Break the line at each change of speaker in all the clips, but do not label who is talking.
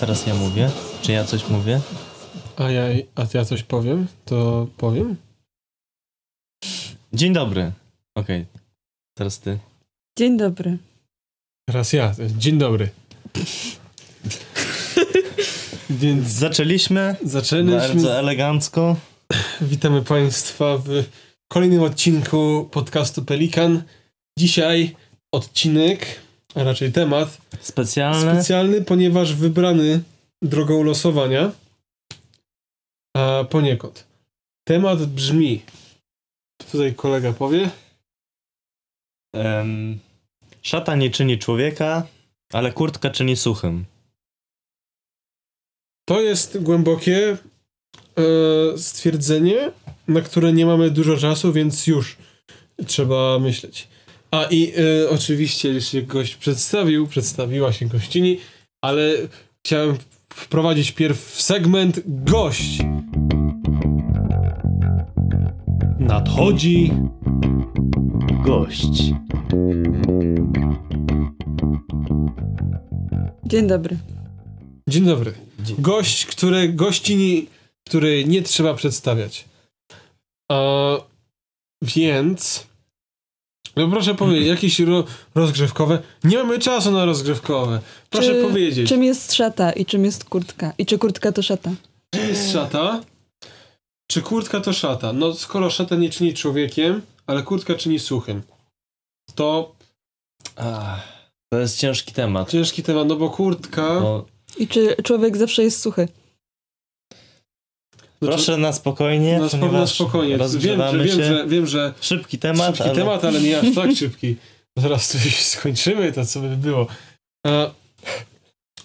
teraz ja mówię? Czy ja coś mówię?
A ja, a ja coś powiem? To powiem?
Dzień dobry. Okej. Teraz ty.
Dzień dobry.
Teraz ja. Dzień dobry. Więc
Zaczęliśmy bardzo
zaczęliśmy.
elegancko.
Witamy Państwa w kolejnym odcinku podcastu Pelikan. Dzisiaj odcinek, a raczej temat
Specjalne.
specjalny, ponieważ wybrany drogą losowania, a poniekąd. Temat brzmi. Tutaj kolega powie.
Em, szata nie czyni człowieka, ale kurtka czyni suchym.
To jest głębokie e, stwierdzenie, na które nie mamy dużo czasu, więc już trzeba myśleć. A i e, oczywiście już się gość przedstawił, przedstawiła się gościni, ale chciałem wprowadzić pierw segment gość.
Nadchodzi gość.
Dzień dobry.
Dzień dobry.
Dzień-
Gość, który, gościni, który nie trzeba przedstawiać. A, więc. No proszę powiedzieć, jakieś ro, rozgrzewkowe. Nie mamy czasu na rozgrzewkowe. Proszę
Czy-
powiedzieć, czym
Czym jest szata i czym jest kurtka? I czy kurtka to szata?
jest szata? Czy kurtka to szata? No skoro szata nie czyni człowiekiem, ale kurtka czyni suchym. To
Ach, to jest ciężki temat.
ciężki temat, no bo kurtka.
Bo
I czy człowiek zawsze jest suchy?
znaczy,
proszę na spokojnie,
na, spo- na
ponieważ
spokojnie. Wiem, że,
rozgrzewamy
wiem,
się.
że, wiem, że
Szybki temat,
szybki
ale...
temat, ale nie aż tak szybki. Zaraz tu już skończymy to, co by było. E,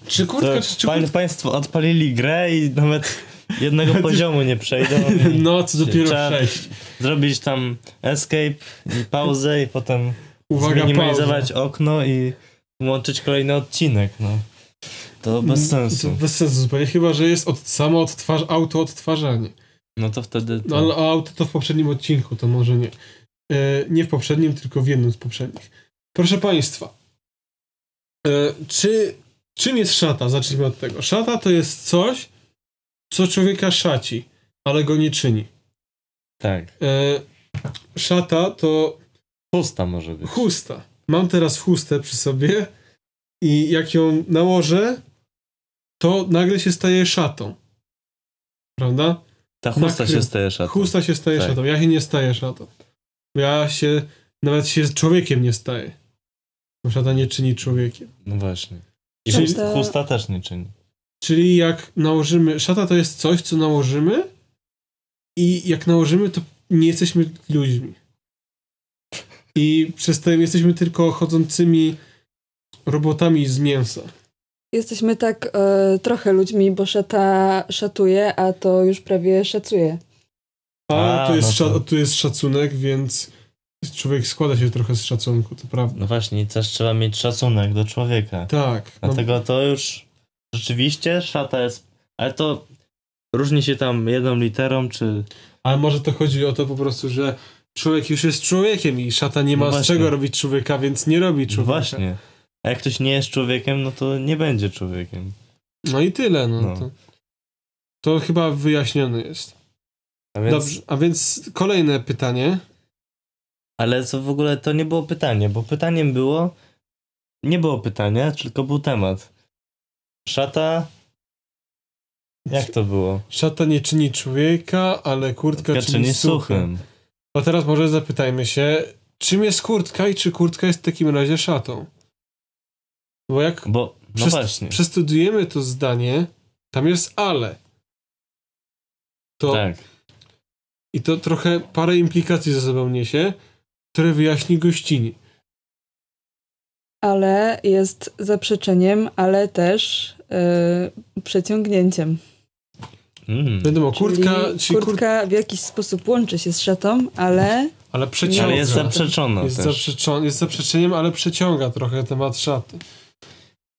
czy kurtka, czy,
To
czy
pań,
kurtka?
państwo odpalili grę i nawet jednego poziomu nie przejdą. I
No, co dopiero
Trzeba-
sześć.
Zrobić tam escape i pauzę i potem
Uwaga, pauza.
zminimalizować okno i włączyć kolejny odcinek. No. To bez
Mm, To
sensu.
bez sensu zupełnie, chyba że jest od, samo odtwarz, auto odtwarzanie.
No to wtedy...
No, ale auto to w poprzednim odcinku, to może nie. E, nie w poprzednim, tylko w jednym z poprzednich. Proszę Państwa, e, czy, czym jest szata? Zacznijmy od tego. Szata to jest coś, co człowieka szaci, ale go nie czyni.
Tak.
E, szata to
Pusta może być.
chusta. Mam teraz chustę przy sobie i jak ją nałożę, to nagle się staje szatą. Prawda?
Ta chusta
nakrył.
się staje szatą.
Chusta się staje
Tak.
szatą. Ja się nie staję szatą. Ja się nawet się z człowiekiem nie staję. Bo szata nie czyni człowiekiem.
No właśnie. I
Czyli-
chusta... chusta też nie czyni.
Czyli jak nałożymy. Szata to jest coś, co nałożymy, i jak nałożymy, to nie jesteśmy ludźmi. I przez to jesteśmy tylko chodzącymi robotami z mięsa.
Jesteśmy tak e, trochę ludźmi, bo szata szatuje, a to już prawie szacuje.
A,
A,
tu, jest
no
sza-
to-
tu jest szacunek, więc człowiek składa się trochę z szacunku, to prawda.
No właśnie, i też trzeba mieć szacunek do człowieka.
Tak. No,
Dlatego to już rzeczywiście szata jest. Ale to różni się tam jedną literą, czy.
ale może to chodzi o to po prostu, że człowiek już jest człowiekiem i szata nie
No
ma z
właśnie.
czego robić człowieka, więc nie robi
No
człowieka.
właśnie. A jak ktoś nie jest człowiekiem, no to nie będzie człowiekiem.
No i tyle, no.
No.
To, to chyba wyjaśnione jest.
A więc,
Dobrze, a więc kolejne pytanie.
Ale co w ogóle to nie było pytanie, bo pytaniem było. Nie było pytania, tylko był temat. Szata. Jak to było?
Szata nie czyni człowieka, ale kurtka
Kurtka
czyni suchym. A teraz może zapytajmy się, czym jest kurtka i czy kurtka jest w takim razie szatą? Bo jak
Bo. No
przest-
właśnie.
przestudujemy to zdanie, tam jest ale. To,
Tak.
I to trochę parę implikacji ze sobą niesie, które wyjaśni gościni.
Ale jest zaprzeczeniem, ale też e, przeciągnięciem.
Mm.
Wiadomo, kurtka,
czyli
czyli kurtka
kurtka w jakiś sposób łączy się z szatą, ale
ale przeciąga.
Ale jest zaprzeczona.
jest,
No, też.
zaprzeczon- jest zaprzeczeniem, ale przeciąga trochę temat szaty.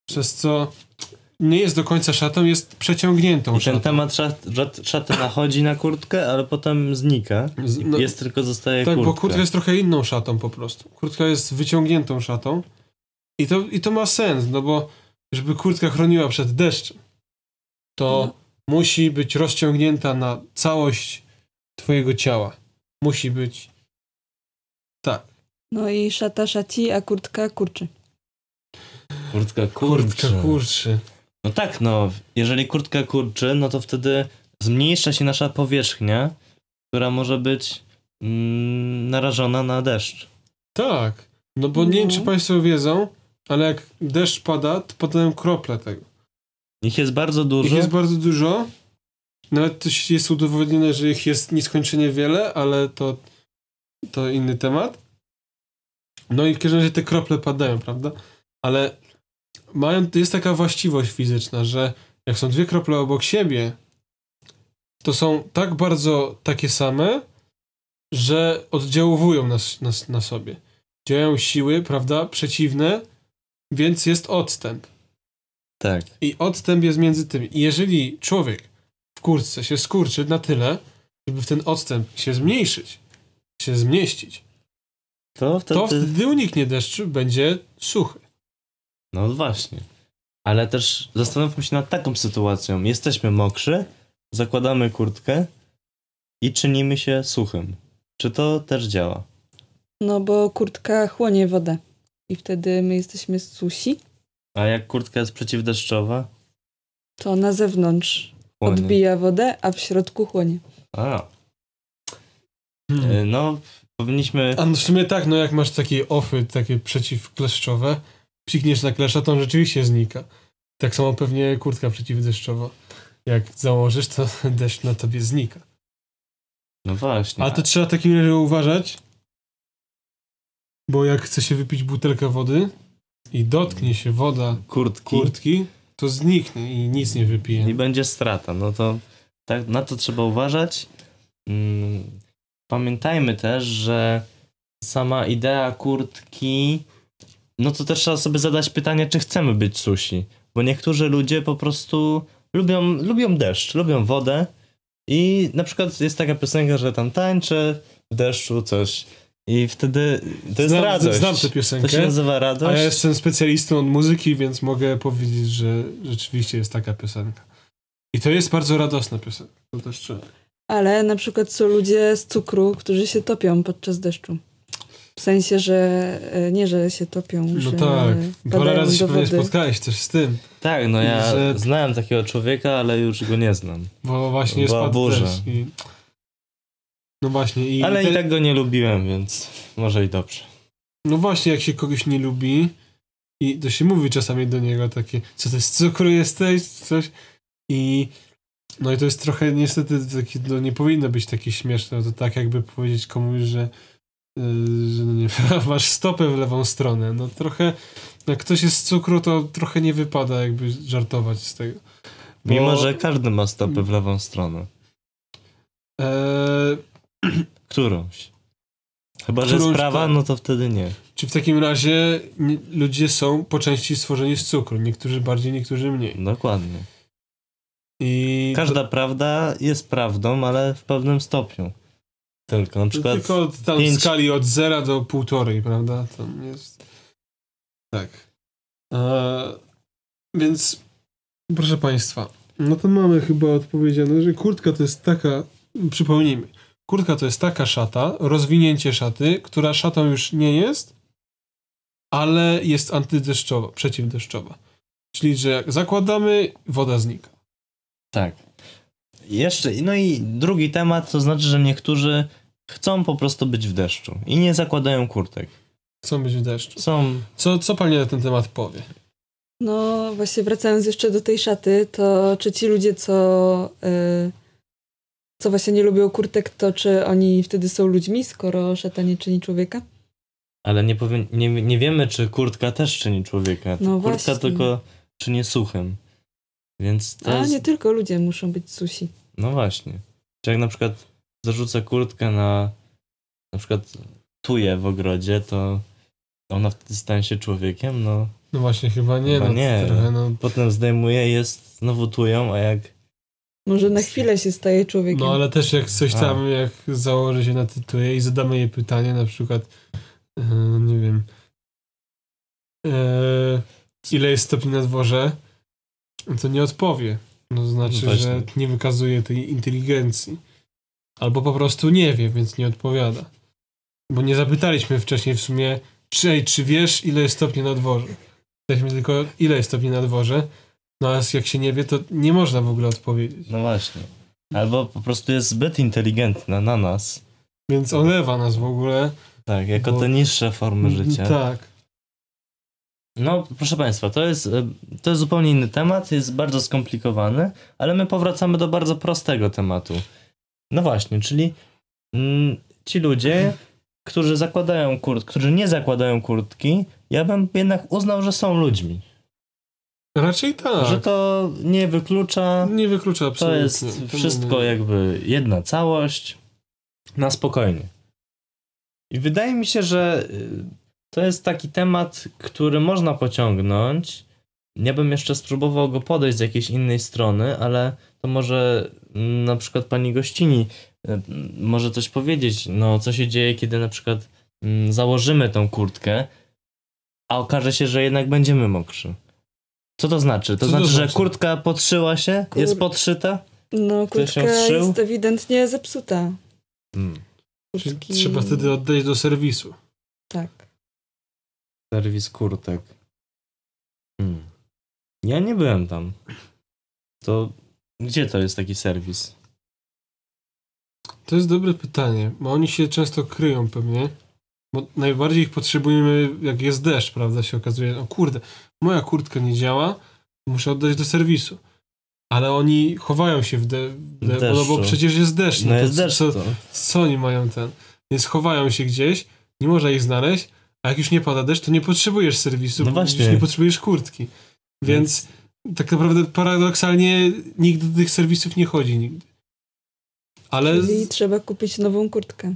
Przez co nie jest do końca szatą, jest przeciągniętą
I ten
szatą.
temat szat, szat, szaty nachodzi na kurtkę, ale potem znika.
Z- no,
jest tylko zostaje
tak,
kurtka.
bo kurtka jest trochę inną szatą po prostu. Kurtka jest wyciągniętą szatą i to, i to ma sens, no bo żeby kurtka chroniła przed deszczem. to musi być rozciągnięta na całość twojego ciała. Musi być. Tak.
No i szata szaci, a kurtka kurczy.
Kurtka
Kurtka
kurczy.
kurczy.
No tak, no. Jeżeli kurtka kurczy, no to wtedy zmniejsza się nasza powierzchnia, która może być mm, narażona na deszcz.
Tak. No bo nie wiem,
No.
czy państwo wiedzą, ale jak deszcz pada, to padają krople tego.
Ich jest bardzo dużo.
Ich jest bardzo dużo. Nawet to się- jest udowodnione, że ich jest nieskończenie wiele, ale to, to inny temat. No i w każdym razie te krople padają, prawda? Ale mają, jest taka właściwość fizyczna, że jak są dwie krople obok siebie, to są tak bardzo takie same, że oddziałowują nas, nas na sobie. Działają siły, prawda, przeciwne, więc jest odstęp.
Tak.
I odstęp jest między tymi. I jeżeli człowiek w kurtce się skurczy na tyle, żeby w ten odstęp się zmniejszyć, się zmieścić,
To
to
wtedy.
wtedy uniknie deszczu, będzie suchy.
No właśnie. Ale też zastanówmy się nad taką sytuacją. Jesteśmy mokrzy, zakładamy kurtkę i czynimy się suchym. Czy to też działa?
No bo kurtka chłonie wodę. I wtedy my jesteśmy susi,
A jak kurtka jest przeciwdeszczowa?
to na zewnątrz
Płonie.
odbija wodę, a w środku chłonie.
A, y, no powinniśmy...
E, A no w sumie tak, no jak masz takie ofy, takie przeciwkleszczowe, psikniesz na klesza, to on rzeczywiście znika. Tak samo pewnie kurtka przeciwdeszczowa. Jak założysz, to deszcz na tobie znika.
No właśnie.
Ale to trzeba w takim razie uważać, bo jak chce się wypić butelkę wody i dotknie się woda
kurtki.
kurtki, to zniknie i nic nie
I
wypije.
będzie strata. No to tak, na to trzeba uważać. Mm, Pamiętajmy też, że sama idea kurtki, no to też trzeba sobie zadać pytanie, czy chcemy być susi. Bo niektórzy ludzie po prostu lubią, lubią deszcz, lubią wodę i na przykład jest taka piosenka, że tam tańczę w deszczu coś i wtedy to jest
znam,
radość.
znam tę
to się
piosenkę,
nazywa
a
radość.
ja jestem specjalistą od muzyki, więc mogę powiedzieć, że rzeczywiście jest taka piosenka. I to jest bardzo radosna piosenka. To też trzeba.
Ale na przykład są ludzie z cukru, którzy się topią podczas deszczu. W sensie, że e, nie, że się topią,
No
że
tak, parę
padają
razy się
do
pewnie
wody.
spotkałeś też z tym,
Tak, no ja
Że-
znałem takiego człowieka, ale już go nie znam.
bo właśnie
Była
spadł
burza.
też. I... No właśnie. I
Ale
te-
i tak go nie lubiłem, więc może i dobrze.
No właśnie, jak się kogoś nie lubi i to się mówi czasami do niego takie, co ty z cukru jesteś, coś i no i to jest trochę niestety takie, no nie powinno być takie śmieszne, to tak jakby powiedzieć komuś, że, yy, że no nie wiem, masz stopę w lewą stronę, no trochę, jak ktoś jest z cukru, to trochę nie wypada jakby żartować z tego. Bo-
Mimo, że każdy ma stopę w lewą stronę.
Eee,
Którąś. Chyba, że jest
Którąś
prawa,
tak.
no to wtedy nie.
czy w takim razie nie, ludzie są po części stworzeni z cukru, niektórzy bardziej, niektórzy mniej.
Dokładnie.
I to-
Każda prawda jest prawdą, ale w pewnym stopniu. Tylko na przykład
Tylko od tam
pięć-
skali od 0 do 1,5, prawda? Tam jest. Tak. E, więc proszę Państwa, no to mamy chyba odpowiedziane, że kurtka to jest taka. Przypomnijmy, kurtka to jest taka szata, rozwinięcie szaty, która szatą już nie jest, ale jest antydeszczowa, przeciwdeszczowa. Czyli, że jak zakładamy, woda znika.
Tak. Jeszcze, no i drugi temat, to znaczy, że niektórzy chcą po prostu być w deszczu i nie zakładają kurtek.
Chcą być w deszczu.
Są
Co, co Pani na ten temat powie?
No właśnie wracając jeszcze do tej szaty, to czy ci ludzie, co, y, co właśnie nie lubią kurtek, to czy oni wtedy są ludźmi, skoro szata nie czyni człowieka?
Ale nie, powie, nie, nie wiemy, czy kurtka też czyni człowieka.
No
kurtka
właśnie.
tylko czyni suchym. Więc to
A
jest...
nie tylko ludzie muszą być susi.
No właśnie. Czy jak na przykład zarzucę kurtkę na na przykład tuję w ogrodzie, to ona wtedy stanie się człowiekiem, no.
No właśnie, chyba nie.
Chyba
no, to
nie.
Trochę, no,
Potem zdejmuje, jest znowu tują, a jak...
Może na chwilę się staje człowiekiem.
No ale też jak coś
A.
tam, jak założy się na tytule i zadamy jej pytanie, na przykład, e, nie wiem, e, ile jest stopni na dworze, to nie odpowie. No to znaczy,
No
że
właśnie.
nie wykazuje tej inteligencji. Albo po prostu nie wie, więc nie odpowiada. Bo nie zapytaliśmy wcześniej w sumie, czy, ej, czy wiesz, ile jest stopni na dworze. Pytaliśmy tylko, ile jest stopni na dworze. No a jak się nie wie, to nie można w ogóle odpowiedzieć.
No właśnie. Albo po prostu jest zbyt inteligentna na nas.
Więc olewa nas w ogóle.
Tak, jako
Bo-
te niższe formy życia.
Tak.
No, proszę Państwa, to jest, e, to jest zupełnie inny temat, jest bardzo skomplikowany, ale my powracamy do bardzo prostego tematu. No właśnie, czyli mm, ci ludzie, którzy zakładają kurt, którzy nie zakładają kurtki, ja bym jednak uznał, że są ludźmi.
Raczej tak.
Że to nie wyklucza,
Nie wyklucza absolutnie.
to jest
To
wszystko
nie-
jakby jedna całość. Na spokojnie. I wydaje mi się, że y, to jest taki temat, który można pociągnąć. Ja bym jeszcze spróbował go podejść z jakiejś innej strony, ale to może mm, na przykład pani gościni y, mm, może coś powiedzieć. No, co się dzieje, kiedy na przykład mm, założymy tą kurtkę, a okaże się, że jednak będziemy mokrzy. Co to znaczy? To
Co to
znaczy, że
znaczy?
kurtka podszyła się?
Kur-
Jest podszyta?
No,
Ktoś ją
kurtka
zszył?
jest ewidentnie zepsuta.
Hmm.
Czyli
Kurtki-
Trzeba wtedy oddać do serwisu.
Tak.
Serwis kurtek. Hmm. Ja nie byłem tam. To gdzie to jest taki serwis?
To jest dobre pytanie, bo oni się często kryją pewnie. Bo najbardziej ich potrzebujemy, jak jest deszcz, prawda? Się okazuje, o kurde, moja kurtka nie działa, muszę oddać do serwisu. Ale oni chowają się w, de- w de- bo,
Deszczu.
bo przecież jest deszcz.
No
to
jest
co-
deszcz
Co,
to.
co oni mają ten? Więc chowają się gdzieś, nie można ich znaleźć, a jak już nie pada deszcz, to nie potrzebujesz serwisu,
No
bo
właśnie.
już nie potrzebujesz kurtki. Więc tak naprawdę paradoksalnie nigdy do tych serwisów nie chodzi nigdy. Ale
Czyli trzeba kupić nową kurtkę.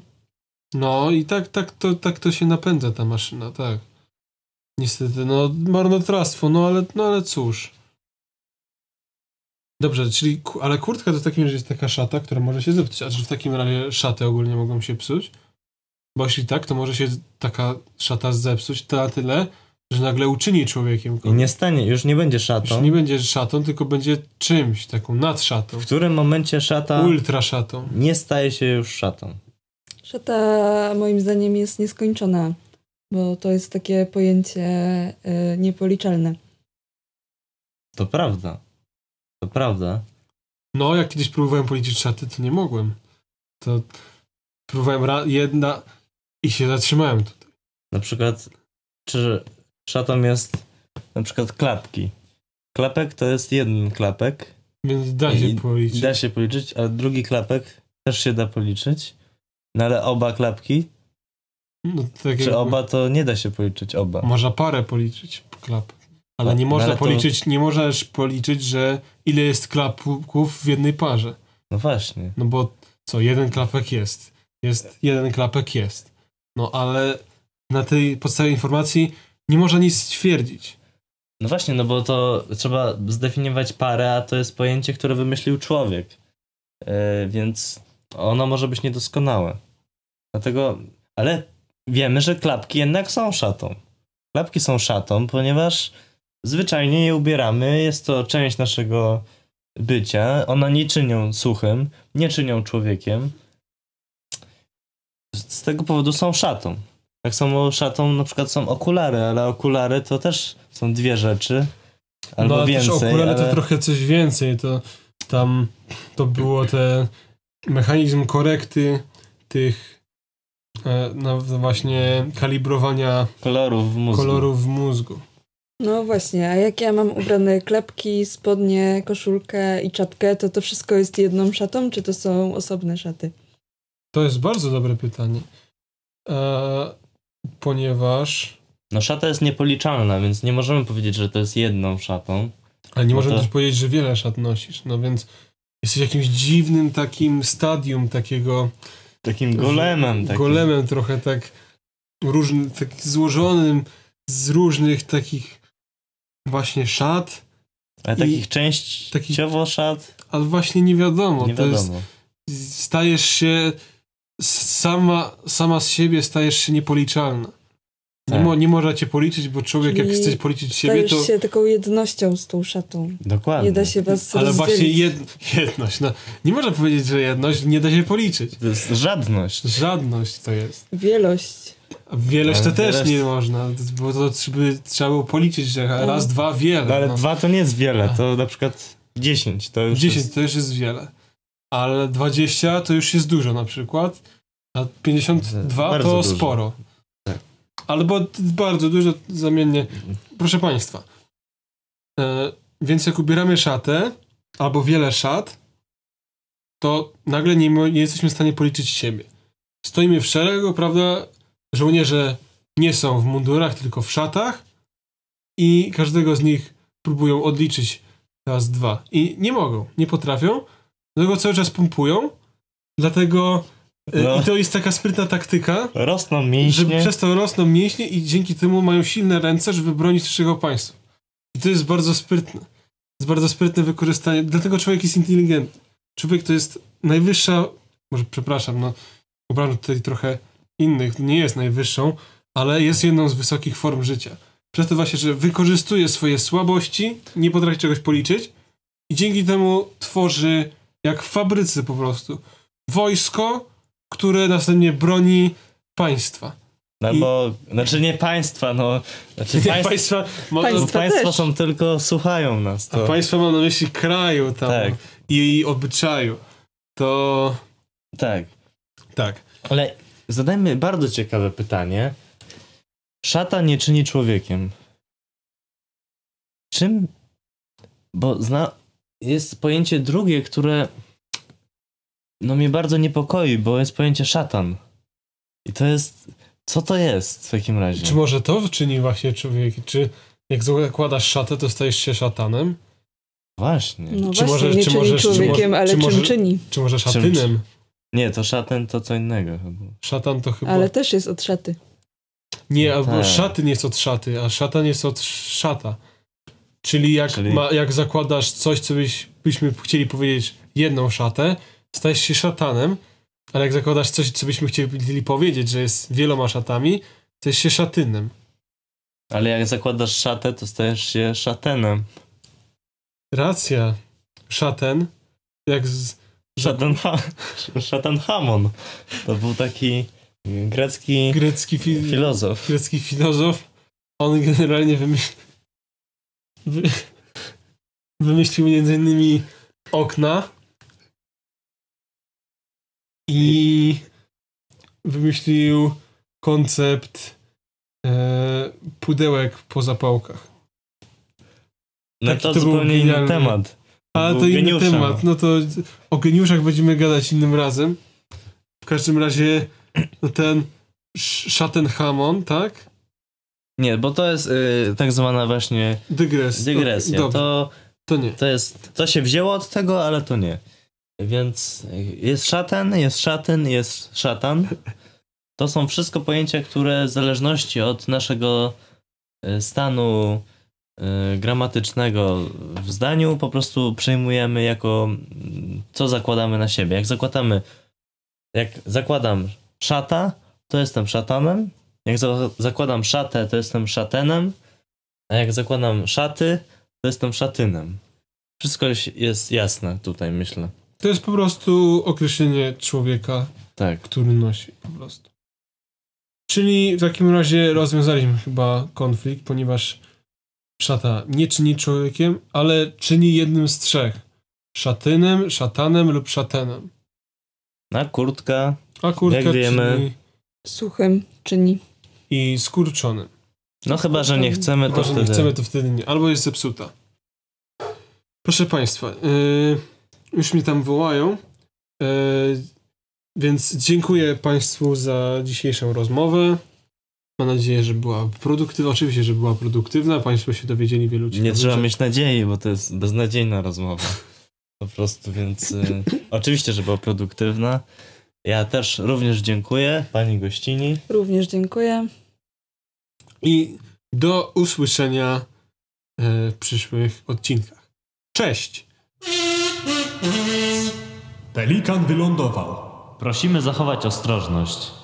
no i tak, tak, to, tak to się napędza ta maszyna, tak. Niestety, no marnotrawstwo, no ale, no ale cóż. Dobrze, czyli, ku- ale kurtka to w takim razie jest taka szata, która może się zepsuć. A czy w takim razie szaty ogólnie mogą się psuć? Bo jeśli tak, to może się taka szata zepsuć na tyle, że nagle uczyni człowiekiem
I
kogoś.
nie stanie, już nie będzie szatą.
Już nie będzie szatą, tylko będzie czymś, taką nadszatą,
W którym momencie szata
ultra szatą.
nie staje się już szatą.
Szata moim zdaniem jest nieskończona, bo to jest takie pojęcie y, niepoliczalne.
To prawda. To prawda.
No, jak kiedyś próbowałem policzyć szaty, to nie mogłem. To próbowałem ra- jedna i się zatrzymałem tutaj.
Na przykład, czy szatą jest na przykład klapki. Klapek to jest jeden klapek,
Więc da się
I-
policzyć.
Da się policzyć, a drugi klapek też się da policzyć. No ale oba klapki,
no, to tak jakby-
czy oba to nie da się policzyć oba.
Można parę policzyć klap.
No,
Ale nie
no
można
ale to-
policzyć, nie możesz policzyć, że ile jest klapków w jednej parze.
No właśnie.
No bo co, jeden klapek jest. Jest, jeden klapek jest. No ale na tej podstawie informacji nie można nic stwierdzić.
No właśnie, no bo to trzeba zdefiniować parę, a to jest pojęcie, które wymyślił człowiek. Yy, więc ono może być niedoskonałe. Dlatego, ale wiemy, że klapki jednak są szatą. Klapki są szatą, ponieważ zwyczajnie je ubieramy, jest to część naszego bycia. One nie czynią suchym, nie czynią człowiekiem. Z z tego powodu są szatą. Tak samo szatą na przykład są okulary, ale okulary to też są dwie rzeczy. Albo
no, ale
więcej.
Też okulary
ale...
to trochę coś więcej. To tam to było te mechanizm korekty tych e, no, właśnie kalibrowania
kolorów w mózgu.
kolorów w mózgu.
No właśnie, a jak ja mam ubrane klapki, spodnie, koszulkę i czapkę, to to wszystko jest jedną szatą, czy to są osobne szaty?
To jest bardzo dobre pytanie. E, ponieważ
No szata jest niepoliczalna, więc nie możemy powiedzieć, że to jest jedną szatą.
ale nie
No
możemy
to-
też powiedzieć, że wiele szat nosisz. No więc jesteś w jakimś dziwnym takim stadium takiego
Takim golemem. Takim.
golemem trochę tak różny, tak złożonym z różnych takich właśnie szat.
Ale takich częściowo
taki-
szat
Ale właśnie nie wiadomo.
nie
No, to
wiadomo.
Jest, stajesz się s- sama, sama z siebie stajesz się niepoliczalna. Nie,
Tak.
mo, nie można cię policzyć, bo człowiek jak
Czyli
chce policzyć siebie,
Stajesz
to...
się taką jednością z tą szatą.
Dokładnie.
Nie da się was
Ale właśnie
rozdzielić.
jed, jedność, no. Nie można powiedzieć, że jedność nie da się policzyć.
To jest żadność.
Żadność to jest.
Wielość.
A Wielość to
Ale
też
wielość-
nie można, bo to trzeba, trzeba było policzyć, że raz, dwa, wiele.
No, ale
no.
dwa to nie jest wiele, to na przykład 10 to już
10
jest
to też jest wiele. Ale 20 to już jest dużo na przykład. A 52
Bardzo
to
dużo.
sporo.
Tak.
Albo d- bardzo dużo zamiennie. Proszę Państwa. E, więc jak ubieramy szatę, albo wiele szat, to nagle nie, mo- nie jesteśmy w stanie policzyć siebie. Stoimy w szeregu, prawda? Żołnierze nie są w mundurach, tylko w szatach i każdego z nich próbują odliczyć raz, dwa. I nie mogą, nie potrafią, dlatego cały czas pompują, dlatego e,
No.
i to jest taka sprytna taktyka,
Rosną
że
mięśnie.
przez to rosną mięśnie i dzięki temu mają silne ręce, żeby bronić naszego państwa. I to jest bardzo sprytne. To jest bardzo sprytne wykorzystanie. Dlatego człowiek jest inteligentny. Człowiek to jest najwyższa, może przepraszam, no obrażam tutaj trochę innych, nie jest najwyższą, ale jest jedną z wysokich form życia. Przez to właśnie, że wykorzystuje swoje słabości, nie potrafi czegoś policzyć i dzięki temu tworzy jak w fabryce po prostu wojsko, które następnie broni państwa.
Albo, znaczy nie państwa, no. Znaczy
Nie,
państwa,
państwa, ma,
bo
Państwa
państwa
też.
są tylko słuchają nas.
a
To,
państwa mam na myśli kraju tam
Tak.
i jej obyczaju. To
tak.
tak.
Ale zadajmy bardzo ciekawe pytanie. Szata nie czyni człowiekiem. Czym? Bo zna... jest pojęcie drugie, które no mnie bardzo niepokoi, bo jest pojęcie szatan. I to jest. Co to jest w takim razie?
Czy może to czyni właśnie człowiek? Czy jak zakładasz szatę, to stajesz się szatanem?
Właśnie.
No
Czy
właśnie,
może- czy
nie czyni
może- czy
człowiekiem,
może-
ale
czy
czym
może-
czyni?
Czy może
Czym-
szatynem?
Nie, to szatan to co innego chyba.
Szatan to chyba...
Ale też jest od szaty.
Nie, albo
Tak.
szatyn jest od szaty, a szatan jest od szata. Czyli jak,
Czyli-
Ma, jak zakładasz coś, co byś, byśmy chcieli powiedzieć jedną szatę, stajesz się szatanem, ale jak zakładasz coś, co byśmy chcieli powiedzieć, że jest wieloma szatami, stajesz się szatynem.
Ale jak zakładasz szatę, to stajesz się szatenem.
Racja. Szaten. Jak z...
Szatan, ha- szatan Hamon. To był taki grecki
grecki, fi...
filozof.
grecki filozof, on generalnie wymyślił... Wy... Wymyślił między innymi okna i wymyślił koncept e, pudełek po zapałkach.
No
Taki
to,
to był
zupełnie inny
genialny.
temat.
Ale
Był
to inny
geniuszem.
temat. No to o geniuszach będziemy gadać innym razem. W każdym razie no ten sz- szaten Hamon, tak?
Nie, bo to jest y, tak zwana właśnie
Dygres.
dygresja.
Dobrze, to...
To,
nie.
to jest, to się wzięło od tego, ale to nie. Więc y, jest szatan, jest szatyn, jest szatan. To są wszystko pojęcia, które w zależności od naszego y, stanu y, gramatycznego w zdaniu po prostu przyjmujemy jako mm, co zakładamy na siebie. Jak zakładamy, jak zakładam szata, to jestem szatanem. Jak za, zakładam szatę, to jestem szatenem. A jak zakładam szaty, to jestem szatynem. Wszystko jest- jest jasne tutaj, myślę.
To jest po prostu określenie człowieka,
Tak.
który nosi po prostu. Czyli w takim razie rozwiązaliśmy chyba konflikt, ponieważ szata nie czyni człowiekiem, ale czyni jednym z trzech. Szatynem, szatanem lub szatenem.
A kurtka,
A kurtka
Jak wiemy-
czyni
Suchym czyni.
i skurczonym.
no chyba, że nie chcemy, to
Chyba, że nie
wtedy...
chcemy, to wtedy nie. Albo jest zepsuta. Proszę Państwa, yy, już mnie tam wołają, yy, więc dziękuję Państwu za dzisiejszą rozmowę. Mam nadzieję, że była produktywna. Oczywiście, że była produktywna. Państwo się dowiedzieli wielu
Nie
ciekawych
trzeba
rzeczy.
mieć nadziei, bo to jest beznadziejna rozmowa. Po prostu, więc y, oczywiście, że była produktywna. Ja też również dziękuję pani gościni.
Również dziękuję.
I do usłyszenia yy, w przyszłych odcinkach. Cześć!
Pelikan wylądował.
Prosimy zachować ostrożność.